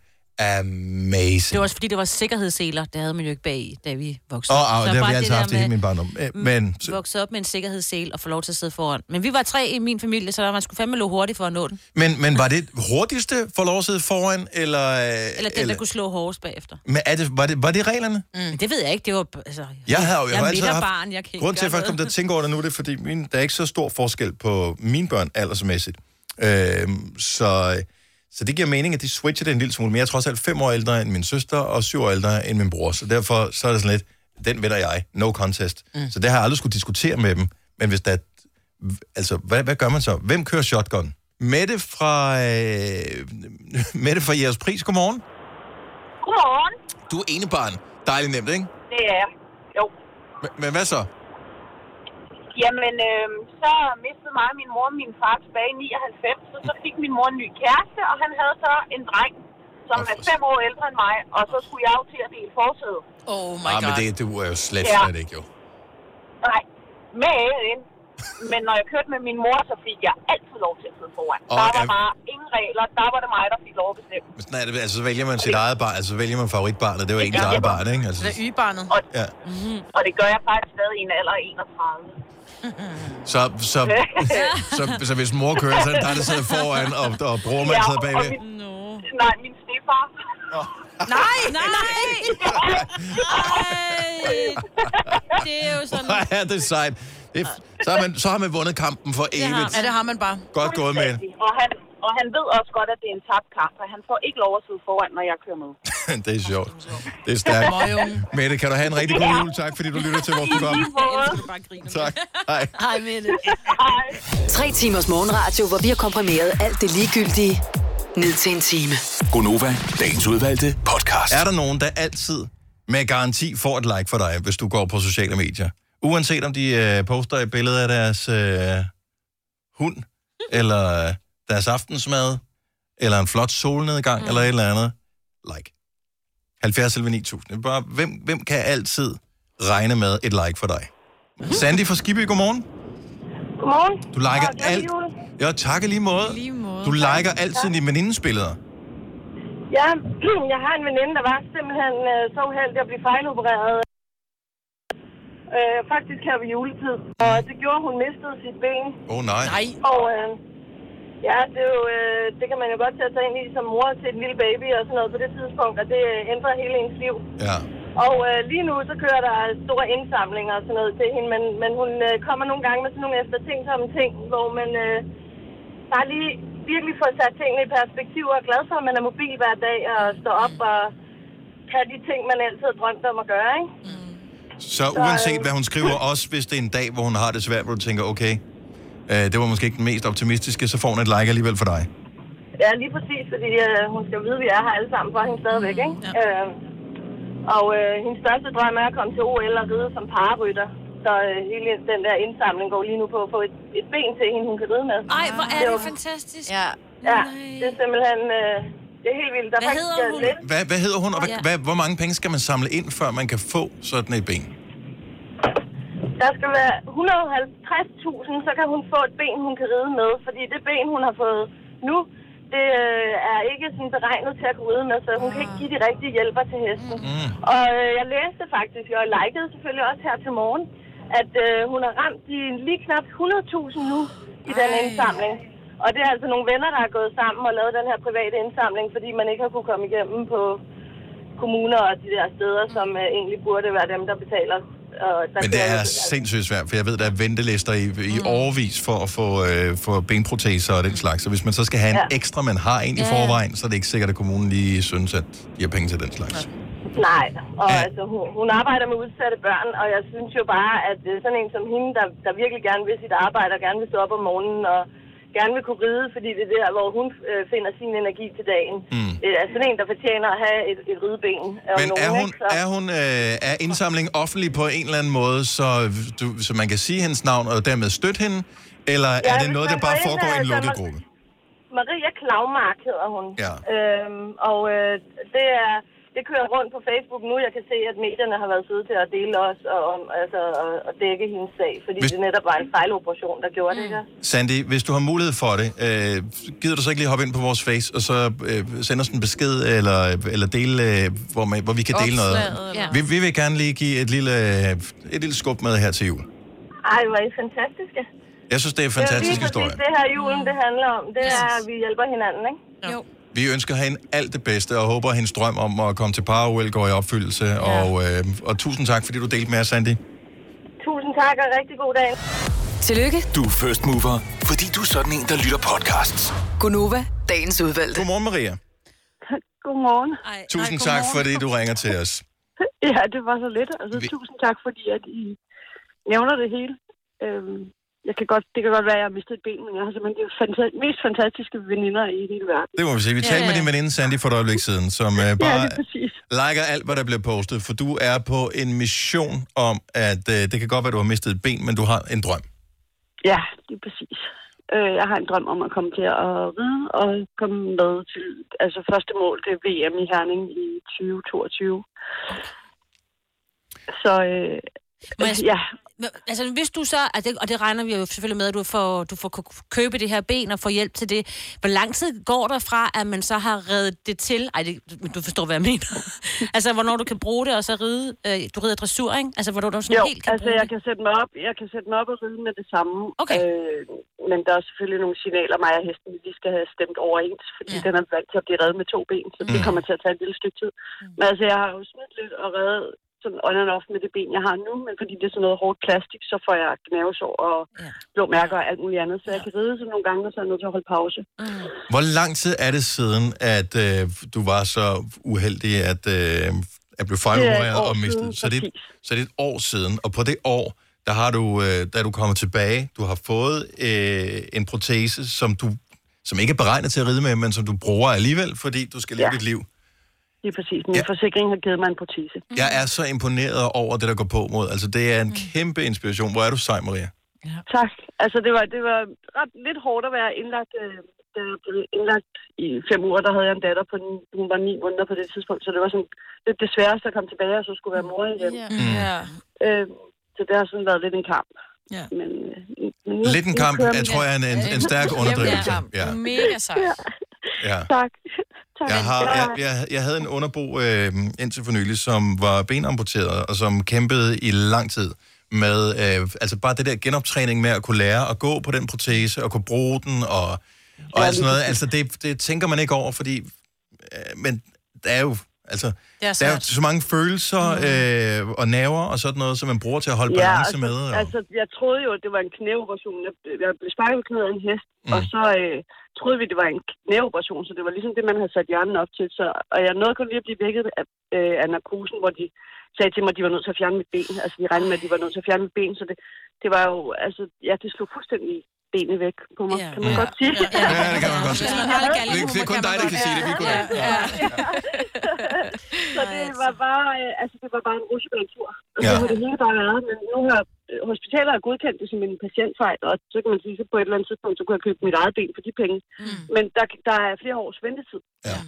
Speaker 1: amazing.
Speaker 5: Det var også fordi, det var sikkerhedsseler. Det havde man jo ikke bag, da vi voksede
Speaker 1: Åh, oh,
Speaker 5: Så
Speaker 1: det har
Speaker 5: bare
Speaker 1: vi altid
Speaker 5: der
Speaker 1: haft i
Speaker 5: med- Mm.
Speaker 1: hele min barndom. Øh, Men
Speaker 5: vokset op med en sikkerhedssel og få lov til at sidde foran. Men vi var tre i min familie, så man skulle fandme løbe hurtigt for at nå den.
Speaker 1: Men, men var det hurtigste for lov at sidde foran, eller...
Speaker 5: Eller den, der kunne slå hårdest bagefter.
Speaker 1: Men er det, var, det, var det reglerne?
Speaker 5: Mm. Det ved jeg ikke. Det var, altså,
Speaker 1: Jeg havde jo
Speaker 5: jeg er
Speaker 1: altid haft...
Speaker 5: midterbarn, jeg kan ikke
Speaker 1: Grunden til, at jeg
Speaker 5: gøre
Speaker 1: først kom til
Speaker 5: noget.
Speaker 1: at tænke over det nu, det er, fordi min, der er ikke så stor forskel på mine børn aldersmæssigt. Øhm, så, så det giver mening, at de switcher det en lille smule. Men jeg er trods alt fem år ældre end min søster, og syv år ældre end min bror. Så derfor så er det sådan lidt, den vinder jeg. No contest. Mm. Så det har jeg aldrig skulle diskutere med dem. Men hvis der... er- Altså, hvad, hvad gør man så? Hvem kører shotgun? Mette fra... Øh, <laughs> Mette fra jeres pris, godmorgen.
Speaker 17: Godmorgen.
Speaker 1: Du er enebarn. Dejligt nemt, ikke?
Speaker 17: Det er jeg. Jo.
Speaker 1: Men, men hvad så?
Speaker 17: Jamen, øh, så mistede mig og min mor og min far tilbage i 99, og så fik min mor en ny kæreste, og han havde så en dreng, som er fem år ældre end mig, og så skulle jeg jo til at dele forsædet.
Speaker 2: Oh
Speaker 1: ah, men det, det er jo slet,
Speaker 17: Ja.
Speaker 1: slet ikke, jo.
Speaker 17: Nej, men, men når jeg kørte med min mor, så fik jeg altid lov til at sidde foran.
Speaker 1: Og
Speaker 17: der var
Speaker 1: er-
Speaker 17: bare ingen regler, der var det mig, der fik lov at bestemme.
Speaker 1: øh, Men sådan er det, altså, så vælger man sit eget barn, altså så vælger man favoritbarnet, det var ens eget barn, ikke? Altså,
Speaker 2: Det er ybarnet.
Speaker 1: ja.
Speaker 17: Mm-hmm. Og det gør jeg faktisk stadig i en alder af 31.
Speaker 1: så, så, så, så, hvis mor kører, så er det dig, der sidder foran, og, og bror man sidder
Speaker 17: og
Speaker 1: bagved.
Speaker 17: Min, Nej, min stefar.
Speaker 5: Nej, nej! Ej, det er jo sådan...
Speaker 1: <laughs> Hvor er det sejt. Det, er f- så, har man, så har man vundet kampen for
Speaker 17: Det har
Speaker 1: evigt.
Speaker 17: man. Ja, det har man
Speaker 2: bare.
Speaker 1: Godt gået, med.
Speaker 17: Og han, og han ved også godt, at det er en tabt kamp, og han får ikke lov at sidde foran, når jeg kører med.
Speaker 1: <laughs> det er sjovt. Det er stærkt.
Speaker 17: Møgung.
Speaker 1: Mette, kan du have en rigtig god jul. Tak, fordi du lytter til vores program. Tak. Hej.
Speaker 2: Hej med det.
Speaker 3: Tre timers morgenradio, hvor vi har komprimeret alt det ligegyldige ned til en time.
Speaker 7: Gonova, dagens udvalgte podcast.
Speaker 1: Er der nogen, der altid med garanti får et like for dig, hvis du går på sociale medier? Uanset om de øh, poster et billede af deres øh, hund, eller øh, deres aftensmad, eller en flot solnedgang, mm. eller et eller andet. Like. 70 eller 9000. Bare, hvem, hvem kan altid regne med et like for dig? Sandy fra Skibby, godmorgen.
Speaker 17: Godmorgen.
Speaker 1: Du liker alt. Jo, tak i lige måde. Du liker altid dine venindens billeder.
Speaker 10: Ja, <clears throat> jeg har en veninde, der var simpelthen øh, så uheldig at blive fejlopereret. Øh, faktisk her ved juletid. Og det gjorde, at hun mistede sit ben.
Speaker 1: Åh, oh, nej.
Speaker 2: Nej.
Speaker 10: Og øh, ja, det, er jo, øh, det kan man jo godt tage sig ind i som mor til et lille baby og sådan noget på det tidspunkt, og det øh, ændrer hele ens liv.
Speaker 1: Ja.
Speaker 10: Og øh, lige nu, så kører der store indsamlinger og sådan noget til hende, men, men hun øh, kommer nogle gange med sådan nogle eftertænksomme ting, hvor man øh, bare lige virkelig fået sat tingene i perspektiv og er glad for, at man er mobil hver dag og står op og kan de ting, man altid har drømt om at gøre, ikke?
Speaker 1: Så uanset hvad hun
Speaker 10: <laughs>
Speaker 1: skriver, også hvis det er en dag, hvor hun har det svært, hvor du tænker, okay, øh, det var måske ikke den mest optimistiske, så får hun et like alligevel for dig.
Speaker 10: Ja, lige præcis, fordi øh, hun skal vide, at vi er her alle sammen for hende stadigvæk, ikke? Ja. Øh, og øh, hendes største drøm er at komme til OL og ride som pararytter. Så øh, hele den der indsamling går lige nu på at få et, et ben til hende, hun kan ride med.
Speaker 5: Ej, hvor er det fantastisk. Ja.
Speaker 10: Ja, det er simpelthen... Øh, det er helt vildt. Der er
Speaker 5: Hvad
Speaker 10: faktisk,
Speaker 5: hedder
Speaker 10: øh,
Speaker 5: hun?
Speaker 10: lidt-
Speaker 1: Hvad, hvad hedder hun, og
Speaker 10: Ja.
Speaker 1: hvad, hvad, hvor mange penge skal man samle ind, før man kan få sådan et ben?
Speaker 10: Der skal være 150.000, så kan hun få et ben, hun kan ride med. Fordi det ben, hun har fået nu, det øh, er ikke sådan beregnet til at kunne ride med, så hun kan ikke give de rigtige hjælper til hesten. Mm. Og øh, jeg læste faktisk, og likede selvfølgelig også her til morgen, at øh, hun har ramt de lige knap 100.000 nu i den indsamling. Og det er altså nogle venner, der er gået sammen og lavet den her private indsamling, fordi man ikke har kunne komme igennem på kommuner og de der steder, som øh, egentlig burde være dem, der betaler. Og der
Speaker 1: Men det er sindssygt svært, for jeg ved, der er ventelister i, i
Speaker 10: Mm.
Speaker 1: overvis for at få øh, for benproteser og den slags. Så hvis man så skal have en
Speaker 10: Ja.
Speaker 1: ekstra, man har en i
Speaker 10: Ja, ja.
Speaker 1: forvejen, så er det ikke sikkert, at kommunen lige synes, at de har penge til den slags.
Speaker 10: Nej, og altså, hun, hun arbejder med udsatte børn, og jeg synes jo bare, at øh, sådan en som hende, der, der virkelig gerne vil sit arbejde, og gerne vil stå op om morgenen, og gerne vil kunne ride, fordi det er der, hvor hun øh, finder sin energi til dagen. Mm. Øh, er sådan en, der fortjener at have et, et rideben. Øh, om
Speaker 1: Men er
Speaker 10: nogen,
Speaker 1: hun,
Speaker 10: ikke? Så-
Speaker 1: er hun øh, er indsamling offentlig på en eller anden måde, så, du, så man kan sige hendes navn og dermed støtte hende? Eller ja, er det
Speaker 10: hvis
Speaker 1: noget,
Speaker 10: man
Speaker 1: der bare
Speaker 10: går ind,
Speaker 1: foregår i en
Speaker 10: altså,
Speaker 1: lukket
Speaker 10: man-
Speaker 1: gruppe?
Speaker 10: Maria Klavmark hedder hun.
Speaker 1: Ja.
Speaker 10: Øhm, og øh, det er det kører rundt på Facebook nu. Jeg kan se, at medierne har været søde til at dele os og, om, altså, og, og dække hendes sag, fordi Hvis... det netop var en fejloperation, der gjorde mm. det her.
Speaker 1: Sandy, hvis du har mulighed for det, øh, gider du så ikke lige hoppe ind på vores face, og så øh, sende os en besked, eller, eller dele, øh, hvor, man, hvor vi kan dele noget?
Speaker 10: Opslaget, eller-
Speaker 1: Vi, vi vil gerne lige give et lille, øh, et lille skub med her til jul.
Speaker 10: Ej, hvor er I fantastiske.
Speaker 1: Jeg synes, det er en
Speaker 10: det er
Speaker 1: fantastisk
Speaker 10: lige præcis
Speaker 1: historie.
Speaker 10: det her julen, det handler om. Det er, at vi hjælper hinanden, ikke? Jo.
Speaker 1: Vi ønsker hende alt det bedste, og håber, at hendes drøm om at komme til Parallel går i opfyldelse. Ja. Og, øh, og tusind tak, fordi du delte med os, Sandy.
Speaker 10: Tusind tak, og rigtig god dag.
Speaker 3: Tillykke.
Speaker 1: Du er first mover, fordi du er sådan en, der lytter podcasts.
Speaker 3: Gunova, dagens udvalgte.
Speaker 1: Godmorgen, Maria.
Speaker 18: Godmorgen.
Speaker 5: Ej,
Speaker 1: Tusind tak, fordi du ringer til os.
Speaker 18: Ja, det var så lidt. Altså, Vi... tusind tak, fordi at I nævner det hele. Øhm, jeg kan godt, det kan godt være, at jeg har mistet et ben, men jeg har simpelthen de fanta- mest fantastiske veninder i hele verden.
Speaker 1: Det må vi sige. Vi talte med din veninde Sandy for et øjeblik siden, som øh,
Speaker 18: Ja,
Speaker 1: bare
Speaker 18: det er præcis.
Speaker 1: liker alt, hvad der bliver postet, for du er på en mission om, at øh, det kan godt være, du har mistet et ben, men du har en drøm.
Speaker 18: Ja, det er præcis. Øh, jeg har en drøm om at komme til at ride og komme med til... Altså, første mål, det er VM i Herning i 2022. Så, øh,
Speaker 5: Må jeg sp-
Speaker 18: ja,
Speaker 5: Men, Altså, hvis du så, at det, og det regner vi jo selvfølgelig med, at du får, du får k- købe det her ben og få hjælp til det. Hvor lang tid går der fra, at man så har reddet det til? Ej, det, men du forstår, hvad jeg mener. <laughs> altså, hvornår du kan bruge det, og så ride, øh, du rider dressur, ikke? Altså, hvornår du sådan
Speaker 18: jo,
Speaker 5: helt kan
Speaker 18: altså
Speaker 5: bruge
Speaker 18: jeg kan, sætte mig op, jeg kan sætte mig op og ride med det samme. Okay. Øh, men der er selvfølgelig nogle signaler, mig og hesten, vi lige skal have stemt overens, fordi ja. den er vant til at blive reddet med to ben, så det kommer til at tage et lille stykke tid. Mm. Men altså, jeg har jo smidt lidt og reddet sådan on and off med det ben, jeg har nu, men fordi det er sådan noget hårdt plastik, så får jeg gnavesår og ja. blå mærker og alt muligt andet, så jeg kan ride sådan nogle gange, og så er jeg nødt til at holde pause. Mm.
Speaker 1: Hvor lang tid er det siden, at øh, du var så uheldig, at, øh, at
Speaker 18: Det er et
Speaker 1: blive fejlopereret
Speaker 18: år
Speaker 1: og mistet?
Speaker 18: siden,
Speaker 1: Så det, så det er et år siden, og på det år, der har du, øh, da du kommer tilbage, du har fået øh, en protese, som du som ikke er beregnet til at ride med, men som du bruger alligevel, fordi du skal leve ja. dit liv. Mm-hmm.
Speaker 18: Det er præcis. Min ja. forsikring har givet mig en protese.
Speaker 1: Jeg er så imponeret over det, der går på mod. Altså, det er en kæmpe inspiration. Hvor er du sej, Maria?
Speaker 18: Ja. Tak. Altså, det var, det var ret lidt hårdt at være indlagt. Øh, da jeg blev indlagt i fem uger, der havde jeg en datter på den, hun var ni måneder på det tidspunkt, så det var sådan lidt det sværeste at komme tilbage, og så skulle være mor igen.
Speaker 2: Ja.
Speaker 18: Øh, så det har sådan været lidt en kamp.
Speaker 2: Ja.
Speaker 18: Men, øh, men nu,
Speaker 1: Mm. Lidt en
Speaker 18: nu
Speaker 1: kamp,
Speaker 18: kører
Speaker 1: jeg
Speaker 18: vi.
Speaker 1: tror jeg, er en, en, en stærk
Speaker 18: Kæmpe
Speaker 1: underdrivelse.
Speaker 18: kamp.
Speaker 1: Ja.
Speaker 2: Mega sejt.
Speaker 1: Ja.
Speaker 18: Tak. tak.
Speaker 1: Jeg, har, jeg, jeg, jeg havde en underbo øh, indtil for nylig, som var benamputeret, og som kæmpede i lang tid med øh, altså bare det der genoptræning med at kunne lære at gå på den protese, og kunne bruge den, og, og alt sådan noget. Altså, det, det tænker man ikke over, fordi... Øh, men der er jo Altså,
Speaker 18: Det er
Speaker 1: der er jo
Speaker 18: svært.
Speaker 1: så mange følelser øh, og nerver og sådan noget, som man bruger til at holde
Speaker 18: ja,
Speaker 1: balance
Speaker 18: altså,
Speaker 1: med. Og...
Speaker 18: altså, jeg troede jo, at det var en knæoperation. Jeg, jeg blev sparket i knæet af en hest, mm. og så øh, troede vi, det var en knæoperation, så det var ligesom det, man havde sat hjernen op til. Så, og jeg nåede kun lige at blive vækket af, øh, af narkosen, hvor de sagde til mig, at de var nødt til at fjerne mit ben. Altså, de regnede med, at de var nødt til at fjerne mit ben, så det, det var jo, altså, ja, det slog fuldstændig benet væk på mig, yeah. kan man
Speaker 1: Ja.
Speaker 18: godt sige. Ja,
Speaker 1: ja, det kan man godt sige. Det, det er kun dig, der kan sige det. Vi kunne ikke.
Speaker 18: <laughs> så det var bare, øh, altså, det var bare en rutsjebanetur. Og så
Speaker 1: Ja.
Speaker 18: har det hele bare været, men nu har øh, hospitaler har godkendt det som en patientfejl, og så kan man sige, så på et eller andet tidspunkt, så kunne jeg købe mit eget ben for de penge. Mm. Men der, der er flere års ventetid. Ja.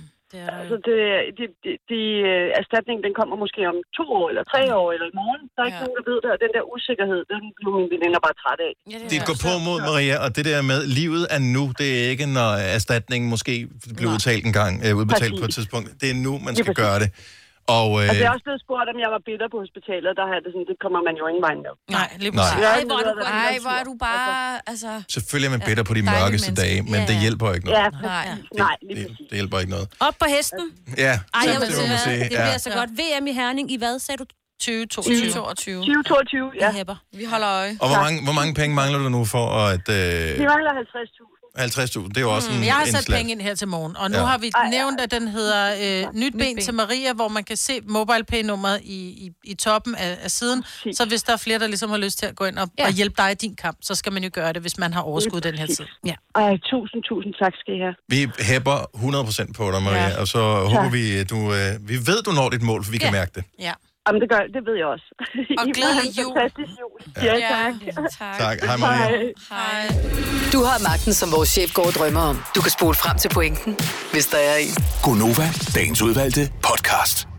Speaker 18: Altså, det, de, de, de, øh, erstatning, den kommer måske om to år, eller tre år, eller i morgen. Der er ikke Mm. ja. nogen, der ved det, og den der usikkerhed, den blev mine veninder bare træt af. Ja,
Speaker 1: Det går på mod Maria, og det der med, livet er nu, det er ikke, når erstatningen måske bliver udtalt en gang, øh, udbetalt
Speaker 18: Præcis.
Speaker 1: på et tidspunkt. Det er nu, man
Speaker 18: Lige
Speaker 1: skal
Speaker 18: præcis.
Speaker 1: gøre det. Og, øh,
Speaker 18: Altså, jeg er også blevet spurgt, om jeg var bitter på hospitalet, og der har jeg det sådan, det kommer man jo ingen vej med.
Speaker 2: Nej, lige
Speaker 1: Nej. præcis.
Speaker 6: Ej, hvor er du, ej, hvor er du bare... Altså,
Speaker 1: selvfølgelig er man bitter på de
Speaker 6: Dejlige
Speaker 1: mørkeste dage, men det hjælper ikke noget.
Speaker 6: nej.
Speaker 18: Nej,
Speaker 1: Det, det hjælper ikke noget.
Speaker 5: Op på hesten.
Speaker 1: Ja,
Speaker 5: Ej,
Speaker 1: så
Speaker 5: jeg vil
Speaker 1: det må
Speaker 5: sige,
Speaker 1: man sige.
Speaker 5: det
Speaker 1: ja.
Speaker 5: bliver så godt. VM i Herning i hvad, sagde du?
Speaker 2: 2022.
Speaker 19: 2022.
Speaker 18: 2022,
Speaker 5: ja. Hæpper.
Speaker 19: Vi holder øje.
Speaker 1: Og hvor mange, hvor mange penge mangler du nu for at... Øh,
Speaker 18: Det mangler 50.000.
Speaker 1: 50.000, det er jo også en,
Speaker 2: Jeg har
Speaker 1: en
Speaker 2: sat
Speaker 1: slat.
Speaker 2: penge ind her til morgen, og nu
Speaker 1: Ja.
Speaker 2: ja. har vi nævnt, at den hedder øh, Nyt, Nyt ben, ben til Maria, hvor man kan se MobilePay-nummeret i, i, i toppen af, af siden. Så hvis der er flere, der ligesom har lyst til at gå ind og, ja. og hjælpe dig i din kamp, så skal man jo gøre det, hvis man har overskud den her tid. Ja.
Speaker 18: Ej, tusind, tusind tak skal I have.
Speaker 1: Vi hæpper 100% på dig, Maria, ja.
Speaker 18: Ja.
Speaker 1: og så håber
Speaker 18: Tak.
Speaker 1: vi, at du... Øh, vi ved, du når dit mål, for vi kan mærke det.
Speaker 2: Ja.
Speaker 18: Jamen, det gør det ved jeg også. <laughs>
Speaker 6: Og
Speaker 18: I må
Speaker 6: glædelig
Speaker 18: have en
Speaker 6: jul.
Speaker 18: fantastisk jul. Ja,
Speaker 6: Ja,
Speaker 18: tak.
Speaker 1: Tak. Hej, Maria.
Speaker 6: Hej.
Speaker 3: Du har magten, som vores chef går og drømmer om. Du kan spole frem til pointen, hvis der er en.
Speaker 13: Gonova, dagens udvalgte podcast.